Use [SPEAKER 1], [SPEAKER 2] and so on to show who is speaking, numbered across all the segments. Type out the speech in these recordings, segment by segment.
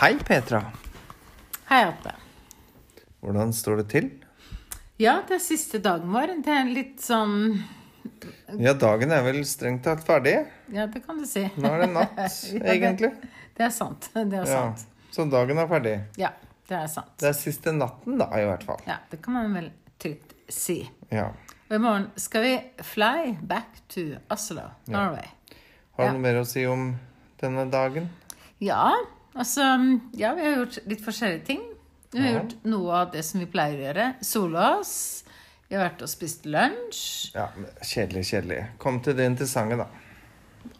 [SPEAKER 1] Hei, Petra.
[SPEAKER 2] Hei, Atte.
[SPEAKER 1] Hvordan står det til?
[SPEAKER 2] Ja, det er siste dagen vår. Det er litt sånn
[SPEAKER 1] Ja, dagen er vel strengt tatt ferdig.
[SPEAKER 2] Ja, det kan du si.
[SPEAKER 1] Nå er det natt,
[SPEAKER 2] Ja, det-
[SPEAKER 1] egentlig.
[SPEAKER 2] Det er sant. Det er
[SPEAKER 1] Ja,
[SPEAKER 2] sant.
[SPEAKER 1] så dagen er ferdig.
[SPEAKER 2] Ja, det er sant.
[SPEAKER 1] Det er siste natten, da, i hvert fall.
[SPEAKER 2] Ja, det kan man vel trygt si.
[SPEAKER 1] Ja.
[SPEAKER 2] Og i morgen skal vi fly back to Oslo, Norway.
[SPEAKER 1] Har
[SPEAKER 2] Ja.
[SPEAKER 1] du noe mer å si om denne dagen?
[SPEAKER 2] Ja, altså Ja, vi har gjort litt forskjellige ting. Vi har gjort noe av det som vi pleier å gjøre. Sole oss. Vi har vært og spist lunsj.
[SPEAKER 1] Ja, men kjedelig, kjedelig. Kom til det interessante, da.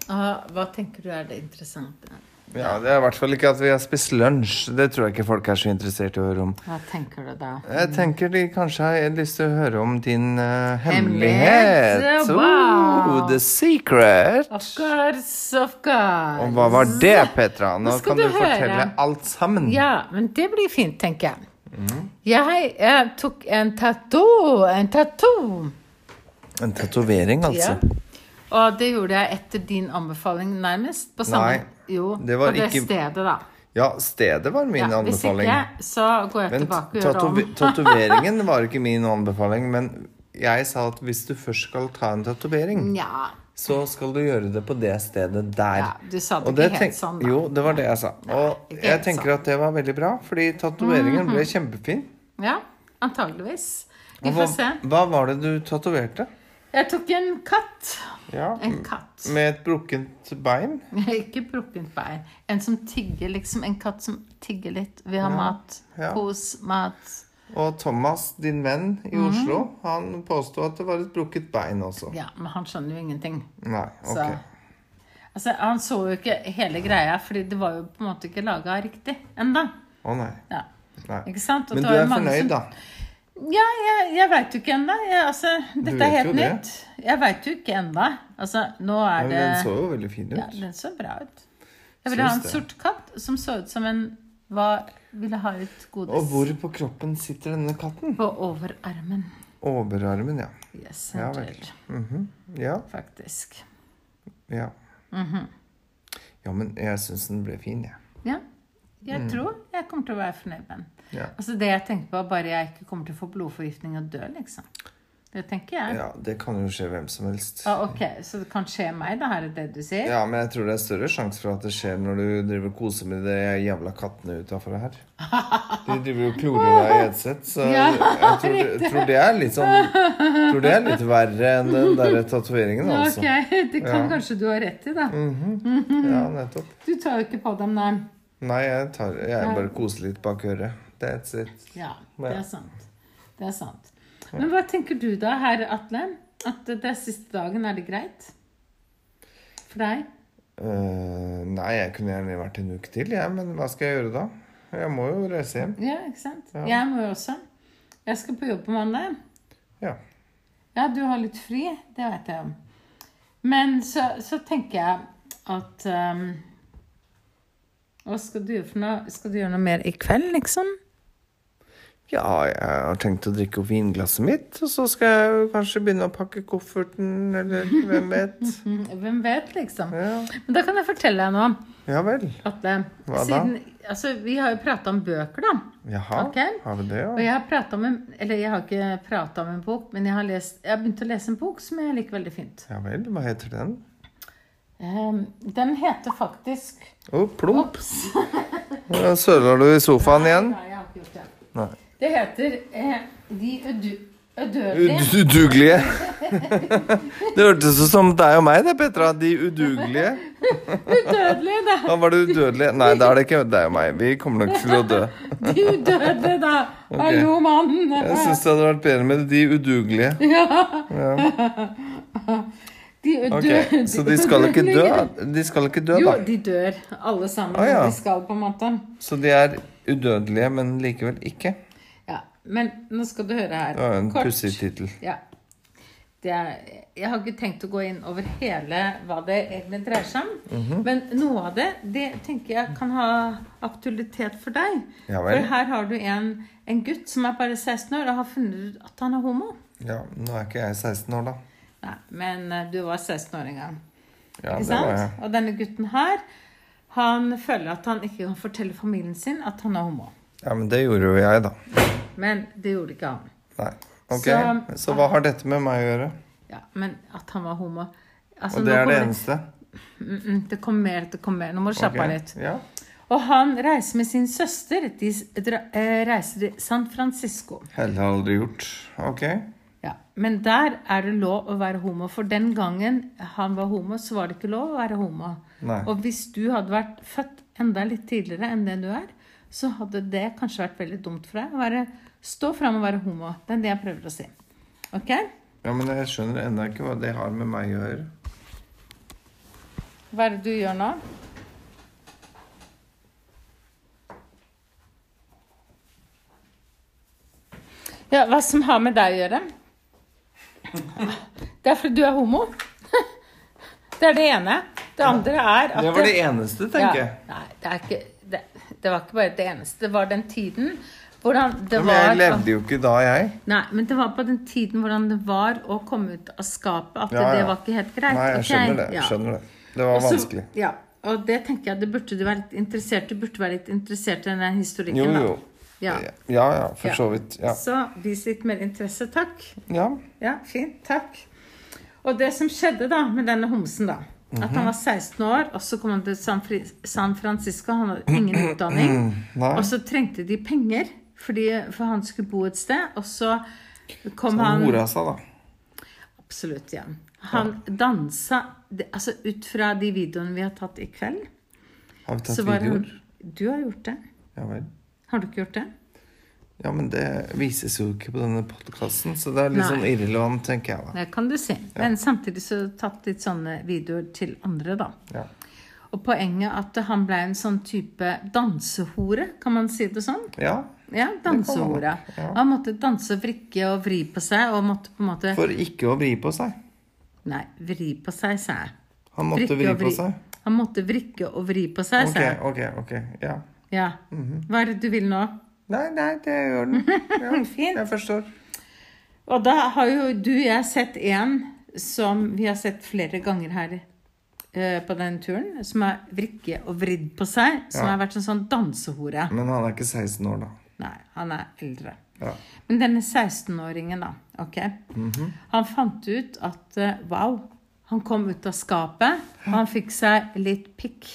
[SPEAKER 2] Og hva tenker du er det interessante?
[SPEAKER 1] Ja, Det er i hvert fall ikke at vi har spist lunsj. Det tror jeg ikke folk er så interessert i å høre om.
[SPEAKER 2] Hva tenker du da?
[SPEAKER 1] Jeg tenker de kanskje har lyst til å høre om din eh, hemmelighet.
[SPEAKER 2] Hemmelighet, wow.
[SPEAKER 1] Oh, the secret.
[SPEAKER 2] Of course, of course.
[SPEAKER 1] Og hva var det, Petra? Nå
[SPEAKER 2] skal
[SPEAKER 1] kan du,
[SPEAKER 2] du høre.
[SPEAKER 1] fortelle alt sammen.
[SPEAKER 2] Ja, men det blir fint, tenker jeg.
[SPEAKER 1] Mm.
[SPEAKER 2] Jeg, eh, tok en tattoo. En tattoo.
[SPEAKER 1] En tatovering, altså.
[SPEAKER 2] Ja. Og det gjorde jeg etter din anbefaling, nærmest. På samme,
[SPEAKER 1] Nei,
[SPEAKER 2] jo,
[SPEAKER 1] det var
[SPEAKER 2] på det
[SPEAKER 1] ikke-
[SPEAKER 2] stedet, da.
[SPEAKER 1] Ja. stedet var min
[SPEAKER 2] Ja, hvis
[SPEAKER 1] anbefaling.
[SPEAKER 2] ikke, så går jeg
[SPEAKER 1] Men
[SPEAKER 2] tilbake og gjør det
[SPEAKER 1] tatove-
[SPEAKER 2] om.
[SPEAKER 1] tatoveringen var ikke min anbefaling. Men jeg sa at hvis du først skal ta en tatovering,
[SPEAKER 2] Nja.
[SPEAKER 1] så skal du gjøre det på det stedet der.
[SPEAKER 2] Ja, du sa det
[SPEAKER 1] Og
[SPEAKER 2] ikke helt sånn, da.
[SPEAKER 1] Jo, det var det jeg sa. Og
[SPEAKER 2] ikke
[SPEAKER 1] jeg
[SPEAKER 2] helt sånn.
[SPEAKER 1] tenker at det var veldig bra, fordi tatoveringen ble kjempefin.
[SPEAKER 2] Ja, antageligvis. Vi
[SPEAKER 1] Og
[SPEAKER 2] får
[SPEAKER 1] hva,
[SPEAKER 2] se.
[SPEAKER 1] hva var det du tatoverte?
[SPEAKER 2] Jeg tok en katt.
[SPEAKER 1] Ja,
[SPEAKER 2] En katt.
[SPEAKER 1] med et brukket bein?
[SPEAKER 2] Ikke brukket bein. En som tigger, liksom. En katt som tigger litt. Vi har mat.
[SPEAKER 1] ja.
[SPEAKER 2] Kos, mat.
[SPEAKER 1] Og Thomas, din venn
[SPEAKER 2] Mhm.
[SPEAKER 1] i Oslo, han påstod at det var et brukket bein også.
[SPEAKER 2] Ja, men han skjønner jo ingenting.
[SPEAKER 1] Nei,
[SPEAKER 2] Så.
[SPEAKER 1] ok.
[SPEAKER 2] Altså, han så jo ikke hele greia, fordi det var jo på en måte ikke laga riktig enda.
[SPEAKER 1] Å nei.
[SPEAKER 2] Ja.
[SPEAKER 1] nei.
[SPEAKER 2] Ikke sant? Og
[SPEAKER 1] Men
[SPEAKER 2] det
[SPEAKER 1] du
[SPEAKER 2] var jo
[SPEAKER 1] er
[SPEAKER 2] mange
[SPEAKER 1] fornøyd,
[SPEAKER 2] som-
[SPEAKER 1] da?
[SPEAKER 2] Ja, jeg, jeg veit jo ikke ennå. Altså, dette er
[SPEAKER 1] vet
[SPEAKER 2] helt
[SPEAKER 1] jo det.
[SPEAKER 2] nytt. Jeg veit jo ikke ennå. Altså, nå
[SPEAKER 1] Men
[SPEAKER 2] er det
[SPEAKER 1] den så jo veldig fin
[SPEAKER 2] Ja,
[SPEAKER 1] ut.
[SPEAKER 2] den så bra ut. Jeg ville ha en
[SPEAKER 1] Syns det.
[SPEAKER 2] sort katt som så ut som en Hva ville ha et godis
[SPEAKER 1] Og hvor på kroppen sitter denne katten?
[SPEAKER 2] på overarmen.
[SPEAKER 1] Overarmen, ja.
[SPEAKER 2] Yes,
[SPEAKER 1] Ja
[SPEAKER 2] ja,
[SPEAKER 1] vel. Ja,
[SPEAKER 2] faktisk.
[SPEAKER 1] ja.
[SPEAKER 2] Mhm.
[SPEAKER 1] Ja, men jeg syns den ble fin, jeg.
[SPEAKER 2] Ja. Jeg
[SPEAKER 1] Mm.
[SPEAKER 2] tror jeg kommer til å være fornøyd med den.
[SPEAKER 1] Ja.
[SPEAKER 2] Altså Det jeg tenkte på, var bare jeg ikke kommer til å få blodforgiftning og dø, liksom. Det tenker jeg.
[SPEAKER 1] Ja, det kan jo skje hvem som helst.
[SPEAKER 2] Ah, ok, Så det kan skje meg, da, her er det du sier?
[SPEAKER 1] Ja, men jeg tror det er større sjanse for at det skjer når du driver og koser med de jævla kattene utafor her. De driver og klorer deg i headset, så
[SPEAKER 2] Ja,
[SPEAKER 1] jeg tror, jeg tror det er litt sånn Tror det er litt verre enn den derre tatoveringen, altså. Mhm.
[SPEAKER 2] ok, Mhm. Det kan kanskje du ha rett i, da.
[SPEAKER 1] Mm. Ja, nettopp.
[SPEAKER 2] Du tar jo ikke på dem, nei.
[SPEAKER 1] Nei, jeg, tar, jeg bare koser litt bak øret. That's it.
[SPEAKER 2] Ja,
[SPEAKER 1] Ja.
[SPEAKER 2] det er sant. Det er sant. Men hva tenker du da, herr Atle? At det er siste dagen, er det greit? For deg?
[SPEAKER 1] Eh, nei, jeg kunne gjerne vært en uke til, jeg, men hva skal jeg gjøre da? Jeg må jo reise hjem.
[SPEAKER 2] Ja, ikke sant? Jeg må jo også. Jeg skal på jobb på mandag.
[SPEAKER 1] Ja.
[SPEAKER 2] Ja, du har litt fri, det vet jeg om. Men så, så tenker jeg at ehm, Hva skal du gjøre for noe? Skal du gjøre noe mer i kveld, liksom?
[SPEAKER 1] Ja, jeg har tenkt å drikke opp vinglasset mitt, og så skal jeg jo kanskje begynne å pakke kofferten, eller hvem vet.
[SPEAKER 2] Mm, Hvem vet, liksom.
[SPEAKER 1] Ja,
[SPEAKER 2] Men da kan jeg fortelle deg noe,
[SPEAKER 1] ja vel.
[SPEAKER 2] Atle.
[SPEAKER 1] Hva da?
[SPEAKER 2] Siden, altså, vi har jo prata om bøker, da.
[SPEAKER 1] Jaha,
[SPEAKER 2] Ok.
[SPEAKER 1] har vi det,
[SPEAKER 2] Og
[SPEAKER 1] ja?
[SPEAKER 2] jeg har pratet om en, Eller jeg har ikke prata om en bok, men jeg har, lest, jeg har begynt å lese en bok som jeg liker veldig fint.
[SPEAKER 1] Ja vel, hva heter den?
[SPEAKER 2] Ehm, den heter faktisk
[SPEAKER 1] Å, plump!
[SPEAKER 2] Ops!
[SPEAKER 1] Ja, Søler du i sofaen igjen?
[SPEAKER 2] Nei, jeg har ikke gjort det.
[SPEAKER 1] Nei.
[SPEAKER 2] Det heter eh, De udu, udødelige.
[SPEAKER 1] Udugelige. Det hørtes ut som deg og meg, det, Petra. De udugelige.
[SPEAKER 2] Udødelige, da!
[SPEAKER 1] Da var det udødelige. Nei, da er det ikke deg og meg. Vi kommer nok til å dø.
[SPEAKER 2] De udødelige, da! Hallo, mannen!
[SPEAKER 1] Jeg syns det hadde vært bedre med de udugelige.
[SPEAKER 2] De udø-
[SPEAKER 1] Ok, Så de skal ikke dø? De skal ikke dø,
[SPEAKER 2] Jo,
[SPEAKER 1] da?
[SPEAKER 2] de dør, alle sammen.
[SPEAKER 1] Å, ja.
[SPEAKER 2] De skal, på en måte.
[SPEAKER 1] Så de er udødelige, men likevel ikke?
[SPEAKER 2] Ja, Men nå skal du høre her.
[SPEAKER 1] Det var jo en pussig tittel.
[SPEAKER 2] Ja. Det er, jeg har ikke tenkt å gå inn over hele hva det egentlig dreier seg om.
[SPEAKER 1] Mhm.
[SPEAKER 2] Men noe av det det tenker jeg kan ha aktualitet for deg.
[SPEAKER 1] Ja
[SPEAKER 2] for
[SPEAKER 1] vel.
[SPEAKER 2] her har du en, en gutt som er bare 16 år og har funnet ut at han er homo.
[SPEAKER 1] Ja, nå er ikke jeg 16 år, da.
[SPEAKER 2] Nei, men eh, du var 16 år en gang.
[SPEAKER 1] Ja,
[SPEAKER 2] Ikke
[SPEAKER 1] det var
[SPEAKER 2] sant?
[SPEAKER 1] jeg.
[SPEAKER 2] Og denne gutten her Han føler at han ikke kan fortelle familien sin at han er homo.
[SPEAKER 1] Ja, men det gjorde jo jeg, da.
[SPEAKER 2] Men det gjorde ikke han.
[SPEAKER 1] Nei. Ok,
[SPEAKER 2] Så-
[SPEAKER 1] så, hva har dette med meg å gjøre?
[SPEAKER 2] Ja, men at han var homo altså,
[SPEAKER 1] Og det
[SPEAKER 2] nå
[SPEAKER 1] er det
[SPEAKER 2] kommer
[SPEAKER 1] eneste?
[SPEAKER 2] Mm, mm, det kom mer, det kom mer. Nå må du slappe av
[SPEAKER 1] Ok,
[SPEAKER 2] litt.
[SPEAKER 1] Ja.
[SPEAKER 2] Og han reiser med sin søster. De s- dra- eh, reiser til San Francisco.
[SPEAKER 1] Heller aldri gjort. Ok.
[SPEAKER 2] Ja, Men der er det lov å være homo. For den gangen han var homo, så var det ikke lov å være homo.
[SPEAKER 1] Nei.
[SPEAKER 2] Og hvis du hadde vært født enda litt tidligere enn den du er, så hadde det kanskje vært veldig dumt for deg å være, stå fram og være homo. Det er det jeg prøver å si. Ok?
[SPEAKER 1] Ja, men jeg skjønner ennå ikke hva det har med meg å gjøre.
[SPEAKER 2] Hva er det du gjør nå? Ja, hva som har med deg å gjøre? Det er fordi du er homo. Det er det ene. Det andre er at
[SPEAKER 1] Det var det eneste, tenker jeg.
[SPEAKER 2] Ja, nei, det, er ikke, det, det var ikke bare det eneste. Det var den tiden hvordan det
[SPEAKER 1] Ja, Men
[SPEAKER 2] var
[SPEAKER 1] jeg levde jo ikke da, jeg.
[SPEAKER 2] Nei, men det var på den tiden hvordan det var å komme ut av skapet, at
[SPEAKER 1] Ja,
[SPEAKER 2] det
[SPEAKER 1] ja.
[SPEAKER 2] var ikke helt greit.
[SPEAKER 1] Nei, jeg
[SPEAKER 2] ok?
[SPEAKER 1] skjønner det.
[SPEAKER 2] Ja.
[SPEAKER 1] Skjønner det. Det var
[SPEAKER 2] Og så-
[SPEAKER 1] vanskelig.
[SPEAKER 2] Ja, og det tenker jeg, det burde du være litt interessert Du burde være litt interessert i den historikken.
[SPEAKER 1] Jo,
[SPEAKER 2] da.
[SPEAKER 1] jo.
[SPEAKER 2] Ja.
[SPEAKER 1] Ja, ja.
[SPEAKER 2] Ja.
[SPEAKER 1] For så vidt. Ja.
[SPEAKER 2] Så vis litt mer interesse, takk.
[SPEAKER 1] ja.
[SPEAKER 2] Ja, fint, takk. Og det som skjedde da med denne homsen, da At
[SPEAKER 1] Mhm.
[SPEAKER 2] han var 16 år, og så kom han til San, Fri San Francisco. Han hadde ingen utdanning.
[SPEAKER 1] Nei.
[SPEAKER 2] Og så trengte de penger, fordi, for han skulle bo et sted. Og så kom han
[SPEAKER 1] Han hora seg, da.
[SPEAKER 2] Absolutt, ja. Han dansa det- Altså ut fra de videoene vi har tatt i kveld,
[SPEAKER 1] Har vi tatt
[SPEAKER 2] så var han
[SPEAKER 1] videoer?
[SPEAKER 2] Du har gjort det.
[SPEAKER 1] Ja vel.
[SPEAKER 2] Har du ikke gjort det?
[SPEAKER 1] Ja, men det vises jo ikke på denne podkasten, så det er litt
[SPEAKER 2] Nei.
[SPEAKER 1] sånn irrelevant, tenker jeg da.
[SPEAKER 2] Det kan du si. Men samtidig så tatt litt sånne videoer til andre, da.
[SPEAKER 1] Ja.
[SPEAKER 2] Og poenget at han ble en sånn type dansehore, kan man si det sånn?
[SPEAKER 1] ja.
[SPEAKER 2] Ja,
[SPEAKER 1] Det
[SPEAKER 2] dansehore.
[SPEAKER 1] kan man nok, ja.
[SPEAKER 2] Han måtte danse og vrikke og vri på seg, og måtte på en måte
[SPEAKER 1] For ikke å vri på seg.
[SPEAKER 2] Nei, vri på seg, sa jeg.
[SPEAKER 1] Han måtte
[SPEAKER 2] Vrikke
[SPEAKER 1] vri
[SPEAKER 2] og
[SPEAKER 1] på seg.
[SPEAKER 2] Han måtte vrikke og vri på seg,
[SPEAKER 1] Ok, Mhm.
[SPEAKER 2] sa jeg.
[SPEAKER 1] ok, ok. Ja.
[SPEAKER 2] Ja. Hva er det du vil nå?
[SPEAKER 1] Nei, nei, det gjør den. Ja,
[SPEAKER 2] Fint.
[SPEAKER 1] jeg forstår.
[SPEAKER 2] Og da har jo du og jeg sett en som vi har sett flere ganger her eh, på den turen, som er vrikke og vridd på seg, som
[SPEAKER 1] Ja.
[SPEAKER 2] har vært en sånn dansehore.
[SPEAKER 1] Men han er ikke 16 år, da.
[SPEAKER 2] Nei, han er eldre.
[SPEAKER 1] Ja. Mhm.
[SPEAKER 2] Men denne 16-åringen, da, ok, han fant ut at eh, wow, han kom ut av skapet, og han fikk seg litt pikk.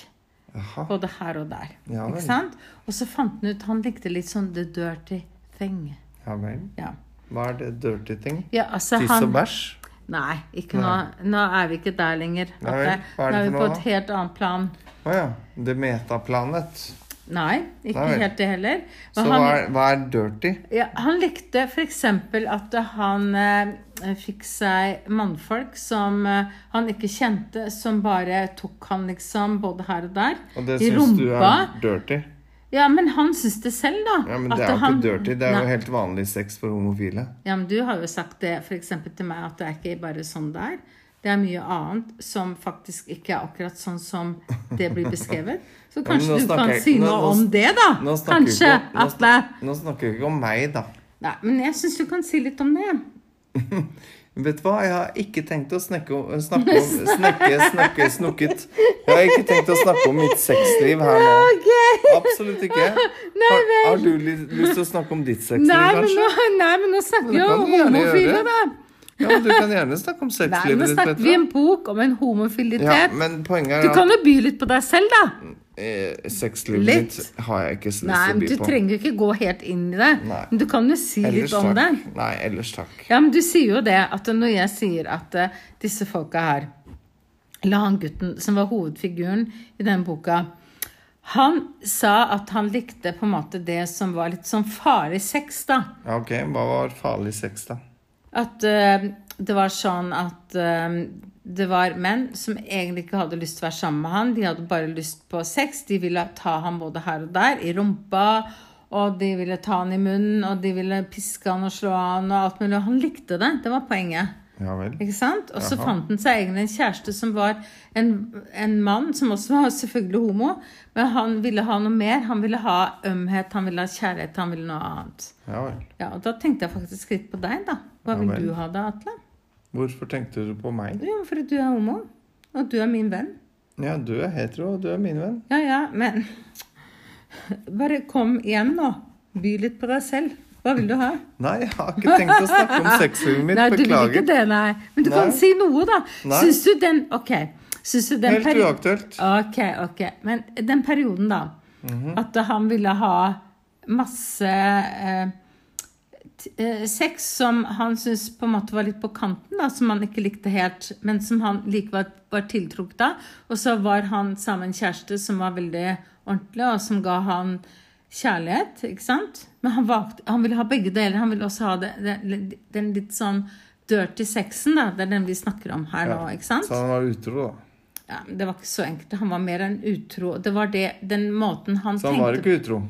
[SPEAKER 1] Jaha.
[SPEAKER 2] Både her og der.
[SPEAKER 1] Ja vel.
[SPEAKER 2] ikke sant? Og så fant han ut Han likte litt sånn the dirty thing.
[SPEAKER 1] Ja vel.
[SPEAKER 2] Ja,
[SPEAKER 1] Hva er det dirty ting?
[SPEAKER 2] ja altså
[SPEAKER 1] Tiss
[SPEAKER 2] han
[SPEAKER 1] og bæsj?
[SPEAKER 2] Nei, ikke nå. Nå er vi ikke der lenger.
[SPEAKER 1] Nei vel,
[SPEAKER 2] Ok,
[SPEAKER 1] hva er
[SPEAKER 2] Nå
[SPEAKER 1] det
[SPEAKER 2] er vi
[SPEAKER 1] for
[SPEAKER 2] på
[SPEAKER 1] noe
[SPEAKER 2] et helt annet plan.
[SPEAKER 1] Å ja. Det metaplanet.
[SPEAKER 2] Nei, ikke
[SPEAKER 1] Nei vel.
[SPEAKER 2] helt det heller.
[SPEAKER 1] Så
[SPEAKER 2] Men
[SPEAKER 1] hva
[SPEAKER 2] han,
[SPEAKER 1] er, hva er dirty?
[SPEAKER 2] ja, han likte f.eks. at han eh, fikk seg mannfolk som eh, han ikke kjente, som bare tok han liksom både her og der.
[SPEAKER 1] Og det
[SPEAKER 2] I
[SPEAKER 1] syns du er dirty?
[SPEAKER 2] Ja, men han syns det selv, da.
[SPEAKER 1] Ja, men det
[SPEAKER 2] at
[SPEAKER 1] er jo
[SPEAKER 2] han-
[SPEAKER 1] ikke dirty. Det er
[SPEAKER 2] Nei.
[SPEAKER 1] jo helt vanlig sex for homofile.
[SPEAKER 2] Ja, men du har jo sagt det f.eks. til meg, at det er ikke bare sånn det er. Det er mye annet som faktisk ikke er akkurat sånn som det blir beskrevet. Så
[SPEAKER 1] men
[SPEAKER 2] kanskje
[SPEAKER 1] nå
[SPEAKER 2] du kan
[SPEAKER 1] snakker jeg-
[SPEAKER 2] si
[SPEAKER 1] nå-
[SPEAKER 2] noe
[SPEAKER 1] nå-
[SPEAKER 2] om det, da?
[SPEAKER 1] Nå snakker
[SPEAKER 2] Kanskje,
[SPEAKER 1] vi ikke om, nå
[SPEAKER 2] Atle.
[SPEAKER 1] snak- Nå snakker vi ikke om meg, da.
[SPEAKER 2] Nei, men jeg syns du kan si litt om det.
[SPEAKER 1] Vet du hva, jeg har ikke tenkt å snakke om, snakke om Snekke, snakke, snukket. Jeg har ikke tenkt å snakke om mitt sexliv her nå.
[SPEAKER 2] Ok!
[SPEAKER 1] Absolutt ikke.
[SPEAKER 2] Nei
[SPEAKER 1] Har, har du li- lyst til å snakke om ditt sexliv,
[SPEAKER 2] Nei, men
[SPEAKER 1] kanskje?
[SPEAKER 2] nå, nei, men nå snakker vi
[SPEAKER 1] Det
[SPEAKER 2] om
[SPEAKER 1] kan du gjerne
[SPEAKER 2] homofile,
[SPEAKER 1] gjøre.
[SPEAKER 2] da.
[SPEAKER 1] Ja, men Du kan gjerne snakke om
[SPEAKER 2] Nei, nå
[SPEAKER 1] sexlivet ditt,
[SPEAKER 2] snakker vi
[SPEAKER 1] Petra.
[SPEAKER 2] en bok om en
[SPEAKER 1] Ja,
[SPEAKER 2] homofilitet.
[SPEAKER 1] men poenget er
[SPEAKER 2] Du
[SPEAKER 1] at
[SPEAKER 2] kan jo by litt på deg selv, da.
[SPEAKER 1] eh, sexlivet
[SPEAKER 2] Litt.
[SPEAKER 1] mitt har jeg ikke så
[SPEAKER 2] Nei,
[SPEAKER 1] lyst
[SPEAKER 2] men Du
[SPEAKER 1] til å by på.
[SPEAKER 2] trenger jo ikke gå helt inn i det.
[SPEAKER 1] Nei.
[SPEAKER 2] Men du kan jo si
[SPEAKER 1] Ellers
[SPEAKER 2] litt om det.
[SPEAKER 1] takk. Nei, ellers takk.
[SPEAKER 2] Ja, men du sier jo det at når jeg sier at eh, disse folka her La han gutten som var hovedfiguren i den boka Han sa at han likte på en måte det som var litt sånn farlig sex, da.
[SPEAKER 1] Ja, ok, hva var farlig sex, da?
[SPEAKER 2] At eh, det var sånn at eh, det var menn som egentlig ikke hadde lyst til å være sammen med han. De hadde bare lyst på sex. De ville ta han både her og der, i rumpa. Og de ville ta han i munnen, og de ville piske han og slå han og alt mulig. Og han likte det. Det var poenget.
[SPEAKER 1] Ja vel.
[SPEAKER 2] Ikke sant? Og så fant han seg egentlig en kjæreste som var en, en mann, som også var selvfølgelig homo, men han ville ha noe mer. Han ville ha ømhet, han ville ha kjærlighet, han ville noe annet.
[SPEAKER 1] Ja vel.
[SPEAKER 2] Ja, og Da tenkte jeg faktisk litt på deg, da. Hva
[SPEAKER 1] Ja
[SPEAKER 2] vil
[SPEAKER 1] vel.
[SPEAKER 2] du ha da, Atle?
[SPEAKER 1] Hvorfor tenkte du på meg?
[SPEAKER 2] Jo, fordi du er homo, og du er min venn.
[SPEAKER 1] Ja, du er hetero, og du er min venn.
[SPEAKER 2] Ja, ja, men Bare kom igjen nå. By litt på deg selv. Hva vil du ha?
[SPEAKER 1] Nei, jeg har ikke tenkt å snakke om sexlivet mitt.
[SPEAKER 2] Nei, du vil ikke
[SPEAKER 1] Beklager.
[SPEAKER 2] det, nei. Men du
[SPEAKER 1] Nei.
[SPEAKER 2] kan si noe, da.
[SPEAKER 1] Nei.
[SPEAKER 2] Syns du den Ok. Syns du den
[SPEAKER 1] Helt
[SPEAKER 2] peri-
[SPEAKER 1] uaktuelt.
[SPEAKER 2] Ok, ok. Men den perioden, da. At han ville ha masse eh, t- eh, sex som han syntes på en måte var litt på kanten, da, som han ikke likte helt, men som han likevel var tiltrukket av. Og så var han sammen med en kjæreste som var veldig ordentlig, og som ga han kjærlighet, ikke sant? Men han, valgte, han ville ha begge deler. Han ville også ha det, det, den litt sånn dirty sexen, da. Det er den vi snakker om her
[SPEAKER 1] Ja.
[SPEAKER 2] nå, ikke sant?
[SPEAKER 1] Så han var utro, da.
[SPEAKER 2] Ja, men det var ikke så enkelt. Han var mer enn utro. Det var det, den måten han
[SPEAKER 1] Så han
[SPEAKER 2] tenkte
[SPEAKER 1] var ikke utro.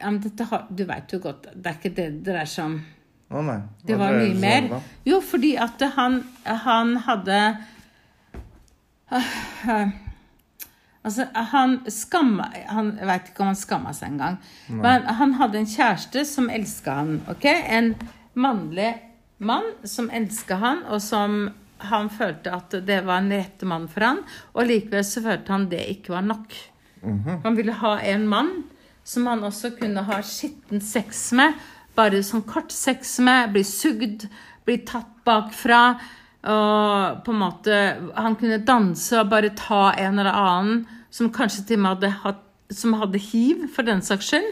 [SPEAKER 2] ja, men dette har, Du veit jo godt, det er ikke det det dreier seg om.
[SPEAKER 1] Å nei.
[SPEAKER 2] Det
[SPEAKER 1] Hva
[SPEAKER 2] var
[SPEAKER 1] dreier seg om
[SPEAKER 2] mye mer.
[SPEAKER 1] da?
[SPEAKER 2] Jo, fordi at han, han hadde Altså, han skamma han, Jeg veit ikke om han skamma seg engang. Men han hadde en kjæreste som elska han. ok? En mannlig mann som elska han, og som han følte at det var en rette mann for han, og likevel så følte han det ikke var nok.
[SPEAKER 1] Mhm.
[SPEAKER 2] Han ville ha en mann som han også kunne ha skitten sex med. Bare sånn kort sex med, bli sugd, bli tatt bakfra. Og på en måte Han kunne danse og bare ta en eller annen som kanskje til og med hadde hatt som hadde hiv, for den saks skyld.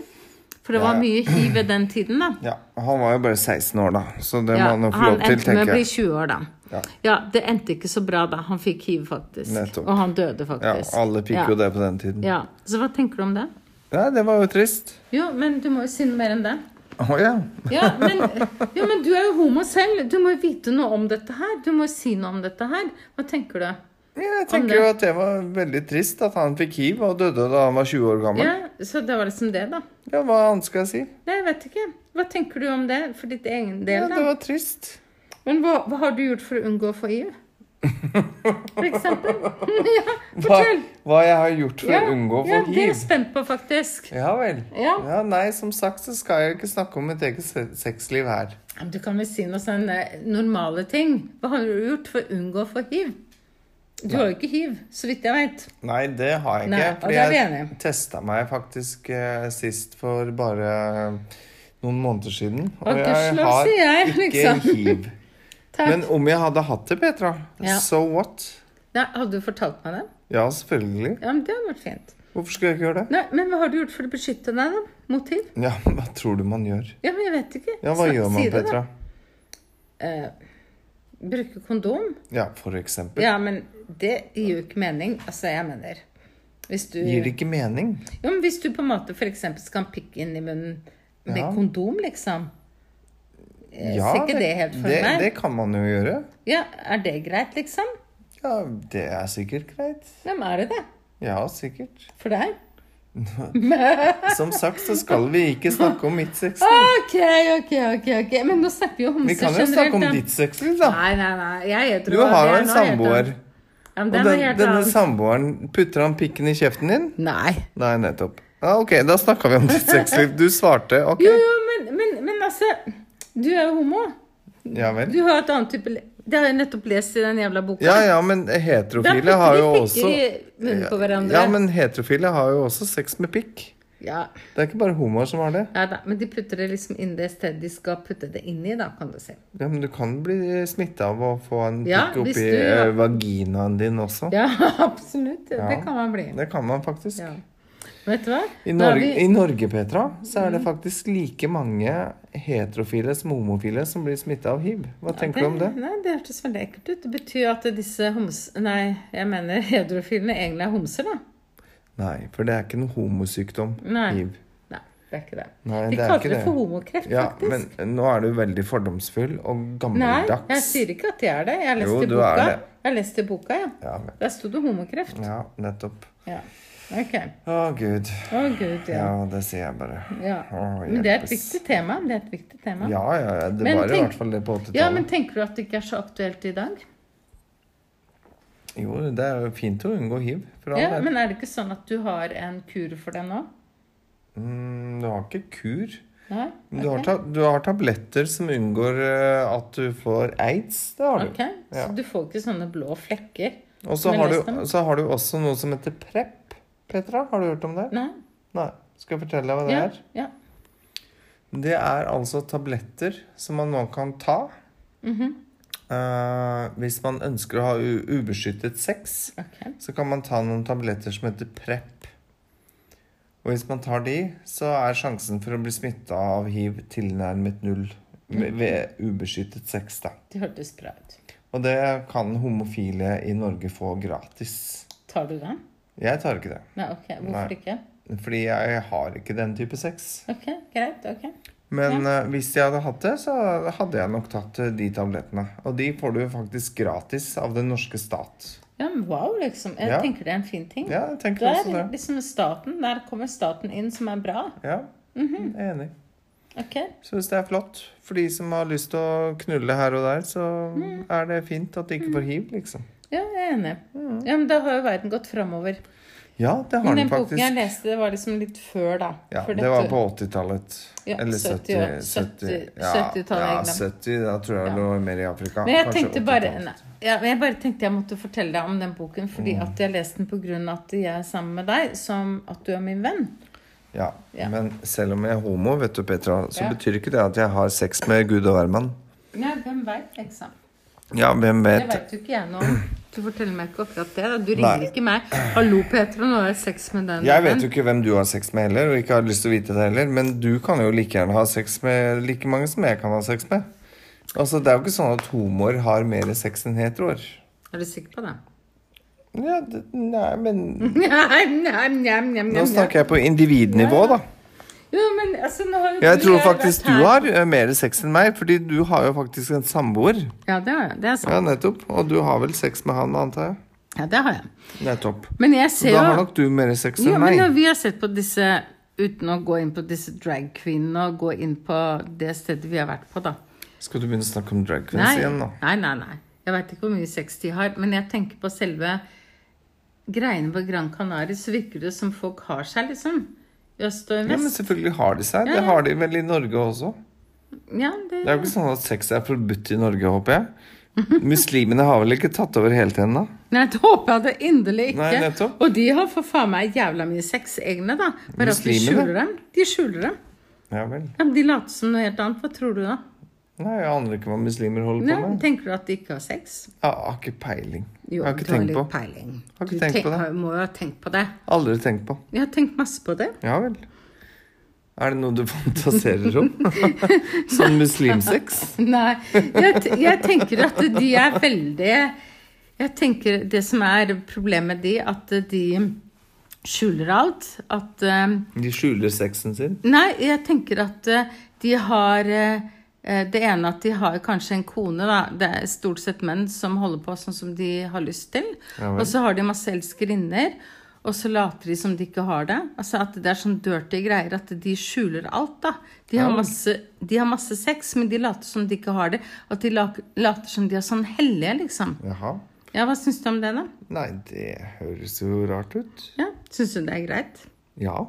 [SPEAKER 2] For det
[SPEAKER 1] Ja,
[SPEAKER 2] var
[SPEAKER 1] ja.
[SPEAKER 2] mye hiv ved den tiden, da.
[SPEAKER 1] Ja, han var jo bare 16 år, da, så det må
[SPEAKER 2] Ja,
[SPEAKER 1] han jo få
[SPEAKER 2] han
[SPEAKER 1] lov til,
[SPEAKER 2] endte med å
[SPEAKER 1] tenker
[SPEAKER 2] bli
[SPEAKER 1] jeg.
[SPEAKER 2] 20 år, da.
[SPEAKER 1] Ja.
[SPEAKER 2] det endte ikke så bra da. Han fikk hiv, faktisk.
[SPEAKER 1] Nettopp.
[SPEAKER 2] Og han døde,
[SPEAKER 1] Ja,
[SPEAKER 2] faktisk.
[SPEAKER 1] alle fikk
[SPEAKER 2] Ja.
[SPEAKER 1] jo det på den tiden.
[SPEAKER 2] Ja. Så hva tenker du om det?
[SPEAKER 1] Nei, det var jo trist.
[SPEAKER 2] Jo, men du må jo si noe mer enn det.
[SPEAKER 1] Å ja.
[SPEAKER 2] Ja men, ja, men du er jo homo selv. Du må jo vite noe om dette her. Du må jo si noe om dette her. Hva tenker du?
[SPEAKER 1] Jeg
[SPEAKER 2] Om
[SPEAKER 1] tenker
[SPEAKER 2] det.
[SPEAKER 1] jo at det var veldig trist at han fikk hiv og døde da han var 20 år gammel.
[SPEAKER 2] Ja, Så det var liksom det, da.
[SPEAKER 1] Ja, hva annet skal jeg si?
[SPEAKER 2] Nei, jeg vet ikke. Hva tenker du om det for ditt egen
[SPEAKER 1] Ja,
[SPEAKER 2] del,
[SPEAKER 1] det
[SPEAKER 2] da?
[SPEAKER 1] var trist.
[SPEAKER 2] Men hva, hva har du gjort for å unngå å få hiv? For eksempel. Ja,
[SPEAKER 1] Hva,
[SPEAKER 2] fortell.
[SPEAKER 1] hva jeg har gjort for
[SPEAKER 2] Ja,
[SPEAKER 1] å unngå å få
[SPEAKER 2] ja, det er jeg
[SPEAKER 1] hiv.
[SPEAKER 2] spent på, faktisk.
[SPEAKER 1] Ja vel.
[SPEAKER 2] Ja.
[SPEAKER 1] Nei, som sagt så skal jeg jo ikke snakke om mitt eget se- sexliv her.
[SPEAKER 2] Men Du kan vel si noen sånne normale ting. Hva har du gjort for å unngå å få hiv? Du har jo ikke hiv, så vidt jeg veit.
[SPEAKER 1] Nei, det har jeg ikke.
[SPEAKER 2] Nei, og
[SPEAKER 1] fordi
[SPEAKER 2] det er vi
[SPEAKER 1] jeg
[SPEAKER 2] enige
[SPEAKER 1] testa meg faktisk eh, sist for bare eh, noen måneder siden.
[SPEAKER 2] Og gudskjelov, sier jeg, liksom.
[SPEAKER 1] ikke hiv.
[SPEAKER 2] Takk.
[SPEAKER 1] Men om jeg hadde hatt det, Petra,
[SPEAKER 2] Ja.
[SPEAKER 1] so what?
[SPEAKER 2] Nei, hadde du fortalt meg det?
[SPEAKER 1] Ja, selvfølgelig.
[SPEAKER 2] Ja, men Det hadde vært fint.
[SPEAKER 1] Hvorfor skulle jeg ikke gjøre det?
[SPEAKER 2] Nei, Men hva har du gjort for å beskytte deg da? mot hiv?
[SPEAKER 1] Ja, hva tror du man gjør?
[SPEAKER 2] Ja, men jeg vet ikke.
[SPEAKER 1] Ja, hva
[SPEAKER 2] Snak-
[SPEAKER 1] gjør
[SPEAKER 2] si
[SPEAKER 1] man,
[SPEAKER 2] det, da.
[SPEAKER 1] Petra?
[SPEAKER 2] Bruke kondom?
[SPEAKER 1] Ja, for eksempel.
[SPEAKER 2] Ja, men det gir jo ikke mening. Altså, jeg mener Hvis du,
[SPEAKER 1] Gir det ikke mening?
[SPEAKER 2] jo, men hvis du på en måte for eksempel skal ha en pikk inn i munnen med
[SPEAKER 1] Ja.
[SPEAKER 2] kondom, liksom. Eh,
[SPEAKER 1] Ja,
[SPEAKER 2] ser ikke det, helt for
[SPEAKER 1] det,
[SPEAKER 2] meg.
[SPEAKER 1] det kan man jo gjøre.
[SPEAKER 2] Ja, Er det greit, liksom?
[SPEAKER 1] Ja, det er sikkert greit.
[SPEAKER 2] Hvem er det, det?
[SPEAKER 1] Ja, sikkert.
[SPEAKER 2] For deg?
[SPEAKER 1] Som sagt så skal vi ikke snakke om mitt sexliv.
[SPEAKER 2] OK, OK, ok. ok Men nå snakker vi jo
[SPEAKER 1] Sånn. Vi
[SPEAKER 2] homser
[SPEAKER 1] kan jo snakke om
[SPEAKER 2] da.
[SPEAKER 1] ditt liksom. sexliv, da.
[SPEAKER 2] Nei, nei, nei. Jeg er hetero.
[SPEAKER 1] Du har
[SPEAKER 2] Jeg
[SPEAKER 1] jo
[SPEAKER 2] er
[SPEAKER 1] en
[SPEAKER 2] nå hetero.
[SPEAKER 1] samboer.
[SPEAKER 2] Ja, men
[SPEAKER 1] Og
[SPEAKER 2] den er
[SPEAKER 1] den,
[SPEAKER 2] helt
[SPEAKER 1] denne
[SPEAKER 2] annen.
[SPEAKER 1] samboeren, putter han pikken i kjeften din?
[SPEAKER 2] Nei.
[SPEAKER 1] Nei, nettopp. Ja, ok, da snakka vi om ditt sexliv. Du svarte. Ok.
[SPEAKER 2] Jo, jo, men, men, men altså Du er jo homo.
[SPEAKER 1] Ja vel.
[SPEAKER 2] Du har et annet type le- Det har jeg nettopp lest i den jævla boka.
[SPEAKER 1] Ja ja, men heterofile
[SPEAKER 2] Da
[SPEAKER 1] har jo
[SPEAKER 2] putter de
[SPEAKER 1] også
[SPEAKER 2] pikker i munnen på hverandre.
[SPEAKER 1] Ja, men heterofile har jo også sex med pikk.
[SPEAKER 2] Ja.
[SPEAKER 1] Det er ikke bare homoer som har det.
[SPEAKER 2] Nei da, men de putter det liksom inn det stedet de skal putte det inn i, da, kan du si.
[SPEAKER 1] Ja, Men du kan bli smitta av å få en
[SPEAKER 2] Ja,
[SPEAKER 1] pikk
[SPEAKER 2] hvis
[SPEAKER 1] oppi
[SPEAKER 2] du-
[SPEAKER 1] eh, vaginaen din også.
[SPEAKER 2] Ja, absolutt. Det kan man bli.
[SPEAKER 1] Det kan man faktisk.
[SPEAKER 2] Ja. Vet du hva?
[SPEAKER 1] I,
[SPEAKER 2] Nå er
[SPEAKER 1] Norge,
[SPEAKER 2] vi-
[SPEAKER 1] I Norge, Petra, så er det faktisk like mange heterofile som homofile som blir smitta av hiv. Hva tenker du om det?
[SPEAKER 2] Nei, det hørtes veldig ekkelt ut. Det betyr at disse homs... Nei, jeg mener hedrofilene egentlig er homser, da.
[SPEAKER 1] Nei, for det er ikke noen homosykdom.
[SPEAKER 2] Nei.
[SPEAKER 1] Hiv.
[SPEAKER 2] Nei, det er ikke det.
[SPEAKER 1] Nei,
[SPEAKER 2] de
[SPEAKER 1] det er
[SPEAKER 2] kaller
[SPEAKER 1] ikke
[SPEAKER 2] det
[SPEAKER 1] det.
[SPEAKER 2] for homokreft,
[SPEAKER 1] Ja,
[SPEAKER 2] faktisk.
[SPEAKER 1] men nå er du veldig fordomsfull og
[SPEAKER 2] Nei,
[SPEAKER 1] gammeldags.
[SPEAKER 2] jeg sier ikke at det er det. Jeg har lest
[SPEAKER 1] Jo,
[SPEAKER 2] i
[SPEAKER 1] du
[SPEAKER 2] boka.
[SPEAKER 1] er det.
[SPEAKER 2] Jeg har lest i boka, ja.
[SPEAKER 1] Ja, men-
[SPEAKER 2] Der sto det homokreft.
[SPEAKER 1] ja, nettopp.
[SPEAKER 2] Ja. Ok.
[SPEAKER 1] Å, gud.
[SPEAKER 2] Å, gud, ja.
[SPEAKER 1] Ja, det sier jeg bare.
[SPEAKER 2] ja.
[SPEAKER 1] Å,
[SPEAKER 2] Men det er
[SPEAKER 1] hjelpes.
[SPEAKER 2] et viktig tema. Det er et viktig tema.
[SPEAKER 1] Ja, ja, ja. Det
[SPEAKER 2] Men
[SPEAKER 1] var i
[SPEAKER 2] tenk-
[SPEAKER 1] hvert fall det på 80-tallet.
[SPEAKER 2] Ja, men tenker du at det ikke er så aktuelt i dag?
[SPEAKER 1] Jo, det er jo fint å unngå hiv. For all
[SPEAKER 2] Ja,
[SPEAKER 1] del.
[SPEAKER 2] Men er det ikke sånn at du har en kur for det nå?
[SPEAKER 1] mm, du har ikke kur.
[SPEAKER 2] Nei?
[SPEAKER 1] Men Du, har
[SPEAKER 2] Ok.
[SPEAKER 1] ta, du har tabletter som unngår eh, at du får aids. Det har du.
[SPEAKER 2] Ok, Så
[SPEAKER 1] Ja.
[SPEAKER 2] du får ikke sånne blå flekker?
[SPEAKER 1] Og så
[SPEAKER 2] Men
[SPEAKER 1] har,
[SPEAKER 2] resten?
[SPEAKER 1] du, så har du også noe som heter PREP. Petra, har du hørt om det?
[SPEAKER 2] Nei?
[SPEAKER 1] Nei. Skal jeg fortelle deg hva det
[SPEAKER 2] Ja,
[SPEAKER 1] er?
[SPEAKER 2] ja.
[SPEAKER 1] Det er altså tabletter som man nå kan ta
[SPEAKER 2] Mhm.
[SPEAKER 1] eh, hvis man ønsker å ha u ubeskyttet sex.
[SPEAKER 2] Ok.
[SPEAKER 1] Så kan man ta noen tabletter som heter PREP. Og hvis man tar de, så er sjansen for å bli smitta av hiv tilnærmet null
[SPEAKER 2] Mhm.
[SPEAKER 1] ved- ved ubeskyttet sex, da.
[SPEAKER 2] Det hørtes bra ut.
[SPEAKER 1] Og det kan homofile i Norge få gratis.
[SPEAKER 2] Tar du den?
[SPEAKER 1] Jeg tar ikke det.
[SPEAKER 2] Nei, ok.
[SPEAKER 1] Nei.
[SPEAKER 2] Hvorfor ikke?
[SPEAKER 1] Fordi jeg har ikke den type sex.
[SPEAKER 2] Ok, greit. ok.
[SPEAKER 1] Men eh, hvis jeg hadde hatt det, så hadde jeg nok tatt eh, de tablettene. Og de får du faktisk gratis av den norske stat.
[SPEAKER 2] Ja, men wow, liksom. Jeg
[SPEAKER 1] Ja.
[SPEAKER 2] tenker det er en fin ting.
[SPEAKER 1] Ja, jeg tenker
[SPEAKER 2] Der,
[SPEAKER 1] også det.
[SPEAKER 2] liksom staten, der kommer staten inn, som er bra.
[SPEAKER 1] Ja, jeg er enig.
[SPEAKER 2] Ok,
[SPEAKER 1] Syns det er flott. For de som har lyst til å knulle her og der, så er det fint at de ikke får hiv, liksom.
[SPEAKER 2] ja, jeg er enig. Ja, men Da har jo verden gått framover.
[SPEAKER 1] Ja, det Mm. har
[SPEAKER 2] Men
[SPEAKER 1] den
[SPEAKER 2] den boken jeg
[SPEAKER 1] faktisk.
[SPEAKER 2] leste, det var liksom litt før, da.
[SPEAKER 1] Ja,
[SPEAKER 2] For
[SPEAKER 1] det var på 80-tallet.
[SPEAKER 2] Ja,
[SPEAKER 1] Eller
[SPEAKER 2] 70,
[SPEAKER 1] 70.
[SPEAKER 2] 70,
[SPEAKER 1] 70 ja,
[SPEAKER 2] 70-tallet,
[SPEAKER 1] ja,
[SPEAKER 2] jeg glemte.
[SPEAKER 1] 70. Da tror jeg det lå mer i Afrika.
[SPEAKER 2] Men jeg
[SPEAKER 1] Kanskje
[SPEAKER 2] tenkte bare
[SPEAKER 1] 80-tallet.
[SPEAKER 2] nei, ja, men Jeg bare tenkte jeg måtte fortelle deg om den boken, fordi
[SPEAKER 1] Mm.
[SPEAKER 2] at jeg leste den på grunn av at jeg er sammen med deg, som at du er min venn.
[SPEAKER 1] Ja,
[SPEAKER 2] Ja.
[SPEAKER 1] men selv om jeg er homo, vet du, Petra, så
[SPEAKER 2] Ja.
[SPEAKER 1] betyr ikke det at jeg har sex med Gud og hvermann.
[SPEAKER 2] Nei, hvem veit, liksom.
[SPEAKER 1] Ja, hvem vet?
[SPEAKER 2] Det veit jo ikke jeg nå. Du forteller meg ikke akkurat det. da. Du
[SPEAKER 1] Nei.
[SPEAKER 2] ringer ikke meg. 'Hallo, Petra, nå har jeg sex med den.'
[SPEAKER 1] Jeg vet jo ikke hvem du har sex med heller, og ikke har lyst til å vite det heller, men du kan jo like gjerne ha sex med like mange som jeg kan ha sex med. Altså, det er jo ikke sånn at homoer har mer sex enn heteroer.
[SPEAKER 2] Er du sikker på det?
[SPEAKER 1] Ja, det, nei, men
[SPEAKER 2] Nei, nei, nei, nei, nei.
[SPEAKER 1] Nå snakker jeg på individnivå, da.
[SPEAKER 2] Jo, men altså, nå har jo
[SPEAKER 1] Jeg
[SPEAKER 2] du-
[SPEAKER 1] tror
[SPEAKER 2] jeg har
[SPEAKER 1] faktisk
[SPEAKER 2] vært
[SPEAKER 1] du
[SPEAKER 2] her-
[SPEAKER 1] har eh, mer sex enn meg, fordi du har jo faktisk en samboer.
[SPEAKER 2] Ja, det har jeg. Det er sant.
[SPEAKER 1] Ja, nettopp. Og du har vel sex med han, antar jeg?
[SPEAKER 2] Ja, det har jeg.
[SPEAKER 1] Nettopp.
[SPEAKER 2] Men jeg ser
[SPEAKER 1] Da har
[SPEAKER 2] jo
[SPEAKER 1] nok du mer sex
[SPEAKER 2] Jo,
[SPEAKER 1] enn
[SPEAKER 2] men
[SPEAKER 1] meg.
[SPEAKER 2] når vi har sett på disse Uten å gå inn på disse drag-kvinnene og gå inn på det stedet vi har vært på, da.
[SPEAKER 1] Skal du begynne å snakke om drag queens
[SPEAKER 2] Nei,
[SPEAKER 1] igjen nå?
[SPEAKER 2] nei, nei. nei. Jeg veit ikke hvor mye sex de har, men jeg tenker på selve greiene på Gran Canaria, så virker det som folk har seg, liksom. I øst og i
[SPEAKER 1] Ja, men
[SPEAKER 2] vest.
[SPEAKER 1] selvfølgelig har de seg. Det har de vel i Norge også.
[SPEAKER 2] Ja, det,
[SPEAKER 1] Det er jo ikke sånn at sex er forbudt i Norge, håper jeg. Muslimene har vel ikke tatt over helt ennå?
[SPEAKER 2] Nei, det håper jeg det inderlig ikke.
[SPEAKER 1] Nei, nettopp.
[SPEAKER 2] og de har for faen meg jævla mye sex, egne, da. Bare at de
[SPEAKER 1] Muslimene?
[SPEAKER 2] skjuler dem. De skjuler dem.
[SPEAKER 1] Ja vel.
[SPEAKER 2] Ja, men de later som noe helt annet. Hva tror du, da?
[SPEAKER 1] Nei, jeg aner ikke hva muslimer holder
[SPEAKER 2] Nei,
[SPEAKER 1] på med.
[SPEAKER 2] tenker du at de ikke har sex?
[SPEAKER 1] Jeg har ikke peiling.
[SPEAKER 2] Jo,
[SPEAKER 1] Jeg har ikke
[SPEAKER 2] du har
[SPEAKER 1] tenkt
[SPEAKER 2] litt
[SPEAKER 1] på.
[SPEAKER 2] peiling.
[SPEAKER 1] Har ikke
[SPEAKER 2] Du
[SPEAKER 1] tenkt på det.
[SPEAKER 2] har- må jo ha tenkt på det.
[SPEAKER 1] Aldri tenkt på.
[SPEAKER 2] Jeg har tenkt masse på det.
[SPEAKER 1] Ja vel. Er det noe du fantaserer om? sånn muslimsex?
[SPEAKER 2] Nei, jeg, t- jeg tenker at de er veldig Jeg tenker det som er problemet med de, at de skjuler alt. At eh,
[SPEAKER 1] De skjuler sexen sin.
[SPEAKER 2] Nei, jeg tenker at eh, de har eh, eh, Det ene at de har kanskje en kone, da. Det er stort sett menn som holder på sånn som de har lyst til.
[SPEAKER 1] Ja vel.
[SPEAKER 2] og så har de masse elskerinner. Og så later de som de ikke har det. Altså At det er sånn dirty greier at de skjuler alt, da. De har
[SPEAKER 1] Ja.
[SPEAKER 2] masse, de har masse sex, men de later som de ikke har det. At de la- later som de er sånn hellige, liksom.
[SPEAKER 1] Jaha.
[SPEAKER 2] Ja, hva syns du om det, da?
[SPEAKER 1] Nei, det høres jo rart ut.
[SPEAKER 2] Ja, Syns du det er greit?
[SPEAKER 1] Ja.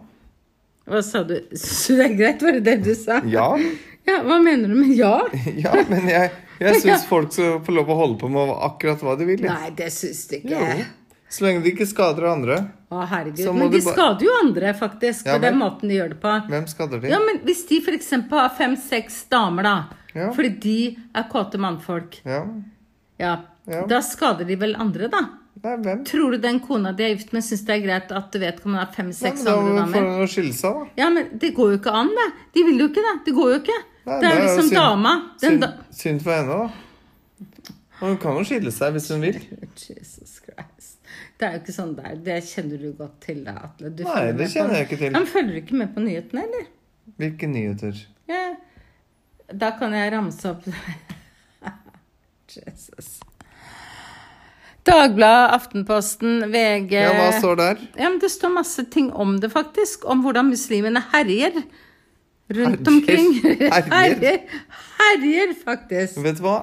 [SPEAKER 2] Hva sa du? Syns du det er greit, var det det du sa?
[SPEAKER 1] Ja.
[SPEAKER 2] Ja, hva mener du med ja?
[SPEAKER 1] Ja, men jeg, jeg syns folk skal få lov å holde på med akkurat hva de vil. jeg.
[SPEAKER 2] Nei, det syns de ikke.
[SPEAKER 1] Jo. Så lenge de ikke skader andre.
[SPEAKER 2] Å, herregud.
[SPEAKER 1] Så må
[SPEAKER 2] Men
[SPEAKER 1] du
[SPEAKER 2] de
[SPEAKER 1] bare-
[SPEAKER 2] skader jo andre, faktisk,
[SPEAKER 1] Ja,
[SPEAKER 2] på den
[SPEAKER 1] vel.
[SPEAKER 2] måten de gjør det på.
[SPEAKER 1] Hvem skader de?
[SPEAKER 2] Ja, men hvis de f.eks. har fem-seks damer, da,
[SPEAKER 1] Ja.
[SPEAKER 2] fordi de er kåte mannfolk,
[SPEAKER 1] Ja.
[SPEAKER 2] ja,
[SPEAKER 1] Ja.
[SPEAKER 2] da skader de vel andre, da?
[SPEAKER 1] Nei, hvem?
[SPEAKER 2] Tror du den kona de er gift med, syns det er greit at vedkommende har
[SPEAKER 1] Ja,
[SPEAKER 2] fem-seks
[SPEAKER 1] men da
[SPEAKER 2] andre
[SPEAKER 1] får
[SPEAKER 2] damer?
[SPEAKER 1] hun jo skille seg, da.
[SPEAKER 2] Ja, men det går jo ikke an, det. De vil jo ikke det. Det går jo ikke.
[SPEAKER 1] Nei,
[SPEAKER 2] det er
[SPEAKER 1] jo
[SPEAKER 2] liksom
[SPEAKER 1] synd-
[SPEAKER 2] dama. Den
[SPEAKER 1] synd,
[SPEAKER 2] da
[SPEAKER 1] synd for henne, da. Og hun kan jo skille seg hvis hun vil.
[SPEAKER 2] Jesus Christ. Det er jo ikke sånn der. Det kjenner du godt til, da, Atle. Du
[SPEAKER 1] Nei, det
[SPEAKER 2] følger med på-
[SPEAKER 1] kjenner jeg ikke
[SPEAKER 2] Ja,
[SPEAKER 1] til.
[SPEAKER 2] men følger du ikke med på nyhetene, eller?
[SPEAKER 1] Hvilke nyheter?
[SPEAKER 2] Ja. Da kan jeg ramse opp Jesus. Dagbladet, Aftenposten, VG
[SPEAKER 1] Ja, hva står der?
[SPEAKER 2] Ja, men Det står masse ting om det, faktisk. Om hvordan muslimene herjer rundt
[SPEAKER 1] Herjer?
[SPEAKER 2] omkring.
[SPEAKER 1] Herjer?
[SPEAKER 2] herjer. Herjer, faktisk.
[SPEAKER 1] Vet du hva?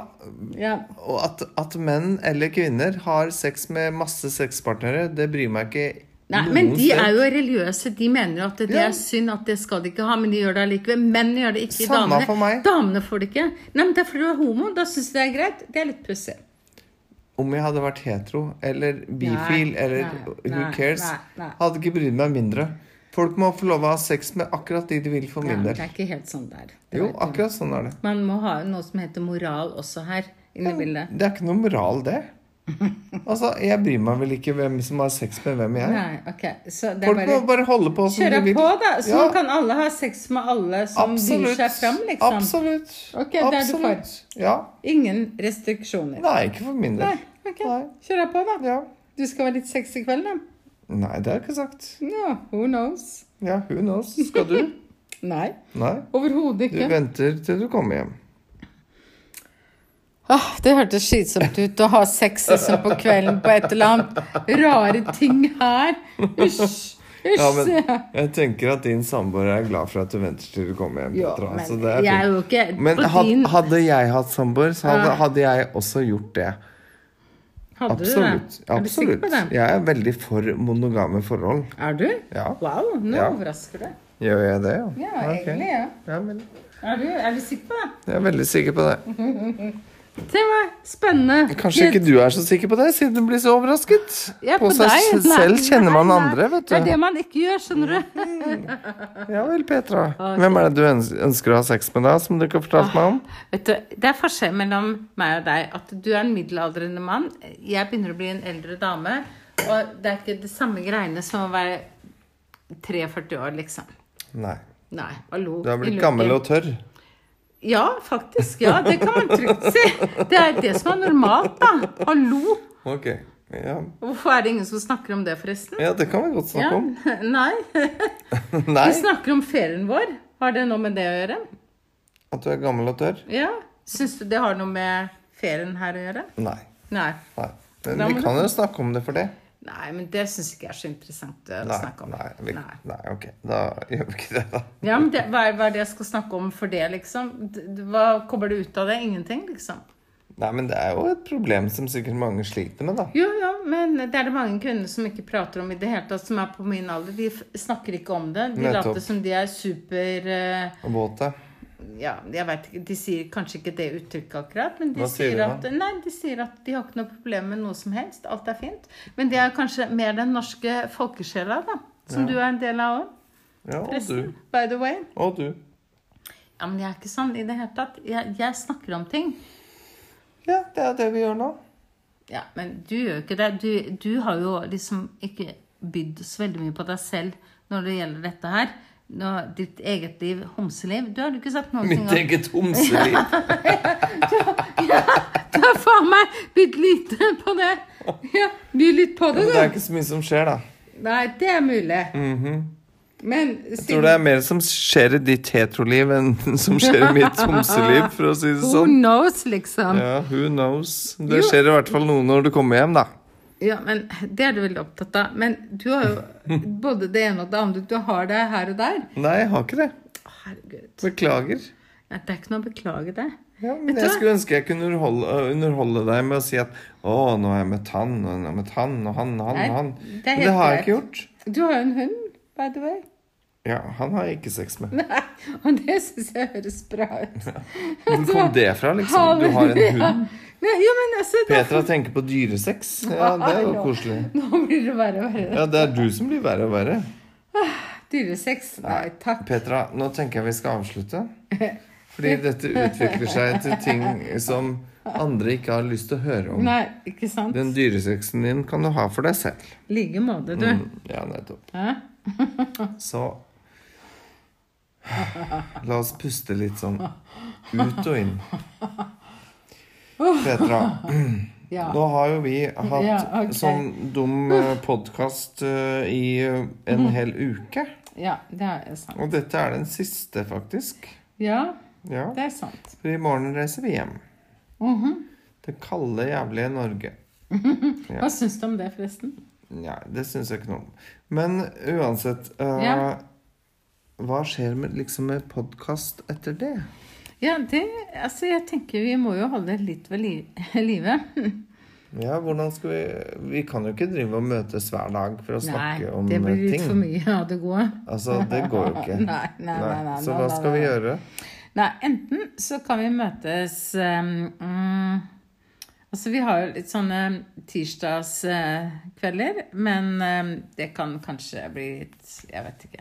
[SPEAKER 2] Ja.
[SPEAKER 1] Og at, at menn eller kvinner har sex med masse sexpartnere, det bryr meg ikke
[SPEAKER 2] Nei, men
[SPEAKER 1] noen
[SPEAKER 2] de
[SPEAKER 1] sted.
[SPEAKER 2] er jo religiøse. De mener jo at det
[SPEAKER 1] Ja.
[SPEAKER 2] er synd at det skal de ikke ha, men de gjør det allikevel. Menn gjør det ikke.
[SPEAKER 1] Samme
[SPEAKER 2] damene
[SPEAKER 1] for meg.
[SPEAKER 2] Damene får det ikke. Nei, men Det er fordi du er homo. Da syns de det er greit. Det er litt pussig.
[SPEAKER 1] om jeg hadde vært hetero eller bifil
[SPEAKER 2] Nei,
[SPEAKER 1] eller
[SPEAKER 2] nei,
[SPEAKER 1] who
[SPEAKER 2] nei,
[SPEAKER 1] cares,
[SPEAKER 2] nei, nei.
[SPEAKER 1] hadde ikke brydd meg mindre. Folk må få lov å ha sex med akkurat de de vil for
[SPEAKER 2] Ja,
[SPEAKER 1] min
[SPEAKER 2] det
[SPEAKER 1] del.
[SPEAKER 2] er ikke helt sånn der.
[SPEAKER 1] Jo, akkurat sånn er det.
[SPEAKER 2] Man må ha noe som heter moral også her inne i bildet.
[SPEAKER 1] Det er ikke noe moral, det. Altså, Jeg bryr meg vel ikke hvem som har sex med hvem jeg er.
[SPEAKER 2] Nei, ok. Så det er
[SPEAKER 1] Folk må
[SPEAKER 2] bare
[SPEAKER 1] bare holde på som de
[SPEAKER 2] kjøre
[SPEAKER 1] vil.
[SPEAKER 2] på, da. Så
[SPEAKER 1] Ja.
[SPEAKER 2] kan alle ha sex med alle som byr seg fram, liksom.
[SPEAKER 1] Absolutt.
[SPEAKER 2] Ok, det er du
[SPEAKER 1] Absolutt. Ja.
[SPEAKER 2] Ingen restriksjoner.
[SPEAKER 1] Nei, ikke for min
[SPEAKER 2] Nei,
[SPEAKER 1] del.
[SPEAKER 2] ok.
[SPEAKER 1] Nei.
[SPEAKER 2] Kjør deg på, da.
[SPEAKER 1] Ja.
[SPEAKER 2] Du skal være litt sexy i kveld, da.
[SPEAKER 1] Nei, det har jeg ikke sagt.
[SPEAKER 2] No, who knows?
[SPEAKER 1] Ja, who knows? Skal du?
[SPEAKER 2] Nei,
[SPEAKER 1] Nei.
[SPEAKER 2] overhodet
[SPEAKER 1] Du
[SPEAKER 2] ikke.
[SPEAKER 1] venter til du kommer hjem.
[SPEAKER 2] Ah, det hørtes slitsomt ut å ha sex liksom på kvelden på et eller annet. Rare ting her. Hysj. Hysj.
[SPEAKER 1] Ja, men jeg tenker at din samboer er glad for at du venter til du kommer hjem.
[SPEAKER 2] Jo,
[SPEAKER 1] Petra, så
[SPEAKER 2] men
[SPEAKER 1] det er
[SPEAKER 2] jeg er
[SPEAKER 1] fint.
[SPEAKER 2] jo ikke
[SPEAKER 1] Men
[SPEAKER 2] på
[SPEAKER 1] had,
[SPEAKER 2] din
[SPEAKER 1] hadde jeg hatt samboer, så hadde,
[SPEAKER 2] Ja.
[SPEAKER 1] hadde jeg også gjort det.
[SPEAKER 2] Hadde
[SPEAKER 1] Absolutt.
[SPEAKER 2] du det? Er du sikker
[SPEAKER 1] Absolutt.
[SPEAKER 2] på det?
[SPEAKER 1] Jeg er veldig for monogame forhold.
[SPEAKER 2] Er du?
[SPEAKER 1] Ja.
[SPEAKER 2] Wow, nå
[SPEAKER 1] Ja.
[SPEAKER 2] overrasker du.
[SPEAKER 1] Gjør jeg det,
[SPEAKER 2] Ja,
[SPEAKER 1] Ok.
[SPEAKER 2] egentlig, ja.
[SPEAKER 1] Ja, men
[SPEAKER 2] Er du, er du sikker på det?
[SPEAKER 1] jeg er veldig sikker på det.
[SPEAKER 2] Det var spennende.
[SPEAKER 1] Kanskje ikke du er så sikker på det, siden du blir så overrasket.
[SPEAKER 2] Ja,
[SPEAKER 1] på seg
[SPEAKER 2] deg. Nei,
[SPEAKER 1] selv kjenner man
[SPEAKER 2] nei, nei.
[SPEAKER 1] andre, vet
[SPEAKER 2] Det er
[SPEAKER 1] du. Mm.
[SPEAKER 2] det man ikke gjør, skjønner du.
[SPEAKER 1] Ja vel, Petra. Hvem er det du øns- ønsker å ha sex med da, som du ikke har
[SPEAKER 2] Ah.
[SPEAKER 1] fortalt meg om?
[SPEAKER 2] Vet du, Det er forskjell mellom meg og deg. At du er en middelaldrende mann. Jeg begynner å bli en eldre dame. Og det er ikke det samme greiene som å være 43 år, liksom.
[SPEAKER 1] Nei.
[SPEAKER 2] Nei, hallo.
[SPEAKER 1] Du er blitt
[SPEAKER 2] i luken.
[SPEAKER 1] gammel og tørr.
[SPEAKER 2] Ja, faktisk. Ja, det kan man trygt si. Det er det som er normalt, da. Hallo.
[SPEAKER 1] Ok. Ja,
[SPEAKER 2] Hvorfor er det ingen som snakker om det, forresten?
[SPEAKER 1] ja det kan vi godt
[SPEAKER 2] Ja,
[SPEAKER 1] snakke om.
[SPEAKER 2] Nei.
[SPEAKER 1] Nei,
[SPEAKER 2] Vi snakker om ferien vår. Har det noe med det å gjøre?
[SPEAKER 1] at du er gammel og tørr?
[SPEAKER 2] Ja. Syns du det har noe med ferien her å gjøre?
[SPEAKER 1] Nei.
[SPEAKER 2] Nei.
[SPEAKER 1] Nei. Men
[SPEAKER 2] Da må
[SPEAKER 1] vi
[SPEAKER 2] du-
[SPEAKER 1] kan jo snakke om det for det.
[SPEAKER 2] Nei, men det syns ikke jeg er så interessant eh, å
[SPEAKER 1] Nei,
[SPEAKER 2] snakke om.
[SPEAKER 1] nei, vi,
[SPEAKER 2] Nei.
[SPEAKER 1] nei, ok. Da gjør vi ikke det, da.
[SPEAKER 2] Ja, men det, hva, er, hva er det jeg skal snakke om for det, liksom? D- d- Hva kommer det ut av det? Ingenting, liksom.
[SPEAKER 1] Nei, men det er jo et problem som sikkert mange sliter med, da.
[SPEAKER 2] Jo, jo, men det er det mange kvinner som ikke prater om i det hele tatt, som er på min alder. De f snakker ikke om det. De
[SPEAKER 1] Nettopp.
[SPEAKER 2] later som de er super eh,
[SPEAKER 1] Våte.
[SPEAKER 2] Ja, jeg vet ikke De sier kanskje ikke det uttrykket akkurat, men de
[SPEAKER 1] Hva sier
[SPEAKER 2] sier,
[SPEAKER 1] de
[SPEAKER 2] at, nei, de sier at de har ikke noe problem med noe som helst. Alt er fint. Men det er kanskje mer den norske folkesjela, da. Som du er en del av òg.
[SPEAKER 1] Ja, og du.
[SPEAKER 2] Forresten. By the way.
[SPEAKER 1] Og du.
[SPEAKER 2] Ja, men jeg er ikke sånn i det hele tatt. Jeg, jeg snakker om ting.
[SPEAKER 1] Ja, det er det vi gjør nå.
[SPEAKER 2] Ja, men du gjør jo ikke det. Du, du har jo liksom ikke bydd så veldig mye på deg selv når det gjelder dette her. Nå, ditt eget liv, homseliv. Du har jo ikke sagt noen ting
[SPEAKER 1] Mitt eget homseliv.
[SPEAKER 2] Du har faen meg bydd lite på det. Ja, By litt på det,
[SPEAKER 1] Men det er
[SPEAKER 2] du.
[SPEAKER 1] ikke så mye som skjer, da.
[SPEAKER 2] Nei, det er mulig. Men
[SPEAKER 1] Mhm. Jeg tror det er mer som skjer i ditt heteroliv enn som skjer i mitt homseliv, for å si det
[SPEAKER 2] Who
[SPEAKER 1] sånn.
[SPEAKER 2] knows, liksom. Ja.
[SPEAKER 1] Ja, who knows. Det skjer i hvert fall noe når du kommer hjem, da.
[SPEAKER 2] men Det er du veldig opptatt av. Men du har jo både det ene og det andre. Du har det her og der.
[SPEAKER 1] Nei, jeg har ikke det.
[SPEAKER 2] Herregud.
[SPEAKER 1] Beklager.
[SPEAKER 2] Nei, Det er ikke noe å beklage det.
[SPEAKER 1] Ja, men
[SPEAKER 2] Vet du
[SPEAKER 1] jeg
[SPEAKER 2] hva?
[SPEAKER 1] skulle ønske jeg kunne underholde, øh, underholde deg med å si at å, nå har jeg møtt han, og nå har jeg møtt han, og han, og han,
[SPEAKER 2] Nei,
[SPEAKER 1] og han.
[SPEAKER 2] det er
[SPEAKER 1] Men det
[SPEAKER 2] helt
[SPEAKER 1] har jeg
[SPEAKER 2] greit.
[SPEAKER 1] ikke gjort.
[SPEAKER 2] Du har jo en hund, by the way.
[SPEAKER 1] Ja, han har jeg ikke sex med.
[SPEAKER 2] Nei, og det syns jeg høres bra ut.
[SPEAKER 1] Hvor kom det fra, liksom? Du har en hund.
[SPEAKER 2] Nei, jo, men altså da,
[SPEAKER 1] Petra tenker på dyresex. Ja, det er jo koselig.
[SPEAKER 2] Nå blir det verre og verre.
[SPEAKER 1] Ja, det er du som blir verre og verre.
[SPEAKER 2] Dyresex? Nei takk.
[SPEAKER 1] Petra, nå tenker jeg vi skal avslutte. Fordi dette utvikler seg til ting som andre ikke har lyst til å høre om.
[SPEAKER 2] Nei, ikke sant?
[SPEAKER 1] Den dyresexen din kan du ha for deg selv. Mm,
[SPEAKER 2] I like måte, du.
[SPEAKER 1] Ja, nettopp.
[SPEAKER 2] Hæ?
[SPEAKER 1] Så La oss puste litt sånn ut og inn. Petra,
[SPEAKER 2] Ja.
[SPEAKER 1] nå har jo vi hatt
[SPEAKER 2] Ja, ok.
[SPEAKER 1] sånn dum podkast i eh, en hel uke.
[SPEAKER 2] ja, det er sant.
[SPEAKER 1] Og dette er den siste, faktisk.
[SPEAKER 2] Ja,
[SPEAKER 1] Ja.
[SPEAKER 2] det er sant. Mhm.
[SPEAKER 1] For i morgen reiser vi hjem. Det kalde, jævlige Norge. Ja.
[SPEAKER 2] Hva syns du om det, forresten?
[SPEAKER 1] Nei, det syns jeg ikke noe om. Men uansett eh,
[SPEAKER 2] Ja.
[SPEAKER 1] Hva skjer med, liksom med podkast etter det?
[SPEAKER 2] Ja, det Altså, jeg tenker vi må jo holde litt ved li live.
[SPEAKER 1] Ja, hvordan skal Vi Vi kan jo ikke drive og møtes hver dag for å
[SPEAKER 2] Nei,
[SPEAKER 1] snakke om
[SPEAKER 2] det
[SPEAKER 1] eh,
[SPEAKER 2] blir litt
[SPEAKER 1] ting.
[SPEAKER 2] for mye av det gode.
[SPEAKER 1] Altså, det går jo ikke.
[SPEAKER 2] Nei, nei, nei, nei, nei,
[SPEAKER 1] Så hva
[SPEAKER 2] nei,
[SPEAKER 1] skal vi
[SPEAKER 2] nei.
[SPEAKER 1] gjøre?
[SPEAKER 2] Nei, enten så kan vi møtes um, ehm, mm, Altså, vi har jo litt sånne tirsdagskvelder, men eh, det kan kanskje bli litt Jeg vet ikke.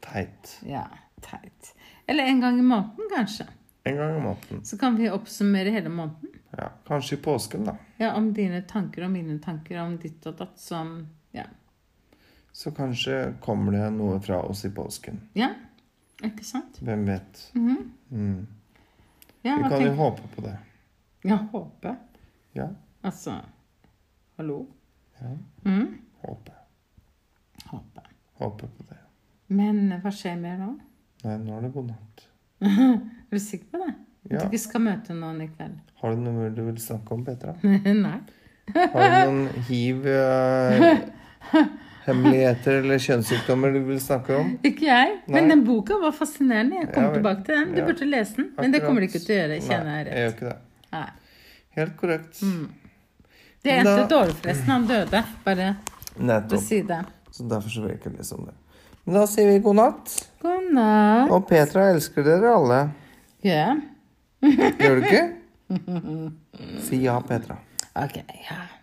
[SPEAKER 1] Teit.
[SPEAKER 2] Ja, teit. Eller en gang i måneden, kanskje.
[SPEAKER 1] En gang i måneden.
[SPEAKER 2] Så kan vi oppsummere hele måneden.
[SPEAKER 1] Ja, kanskje i påsken, da.
[SPEAKER 2] Ja, om dine tanker og mine tanker om ditt og datt som Ja.
[SPEAKER 1] Så kanskje kommer det noe fra oss i påsken.
[SPEAKER 2] ja. Ikke sant?
[SPEAKER 1] Hvem vet?
[SPEAKER 2] Mhm.
[SPEAKER 1] Mm.
[SPEAKER 2] Ja,
[SPEAKER 1] Vi
[SPEAKER 2] hva
[SPEAKER 1] kan jo
[SPEAKER 2] tenker
[SPEAKER 1] håpe på det.
[SPEAKER 2] Ja, håpe.
[SPEAKER 1] Ja.
[SPEAKER 2] Altså Hallo? Mm,
[SPEAKER 1] Håpe.
[SPEAKER 2] Håpe.
[SPEAKER 1] Håpe på det.
[SPEAKER 2] Men hva skjer mer nå?
[SPEAKER 1] Nei, nå er det god natt.
[SPEAKER 2] Er du sikker på det?
[SPEAKER 1] Ja.
[SPEAKER 2] At vi skal møte noen i kveld?
[SPEAKER 1] Har du noe du vil snakke om, Petra?
[SPEAKER 2] Nei.
[SPEAKER 1] Har du noen hiv-hemmeligheter eller kjønnssykdommer du vil snakke om?
[SPEAKER 2] Ikke jeg. Men
[SPEAKER 1] Nei.
[SPEAKER 2] den boka var fascinerende. Jeg kommer
[SPEAKER 1] Ja vel.
[SPEAKER 2] tilbake til den. Du
[SPEAKER 1] Ja.
[SPEAKER 2] burde lese den. Men det kommer du ikke til å gjøre.
[SPEAKER 1] Nei,
[SPEAKER 2] Kjenner
[SPEAKER 1] jeg
[SPEAKER 2] jeg rett. Mm.
[SPEAKER 1] gjør ikke det.
[SPEAKER 2] Nei.
[SPEAKER 1] Helt korrekt.
[SPEAKER 2] Det endte
[SPEAKER 1] Da-
[SPEAKER 2] dårlig, forresten. Han døde. Bare å
[SPEAKER 1] Nettopp.
[SPEAKER 2] si det.
[SPEAKER 1] Så derfor så vil jeg ikke lese om det. Men da sier vi god natt.
[SPEAKER 2] God natt.
[SPEAKER 1] Og Petra elsker dere alle.
[SPEAKER 2] Ja.
[SPEAKER 1] Gjør du ikke? Si ja, Petra.
[SPEAKER 2] Ok. Ja.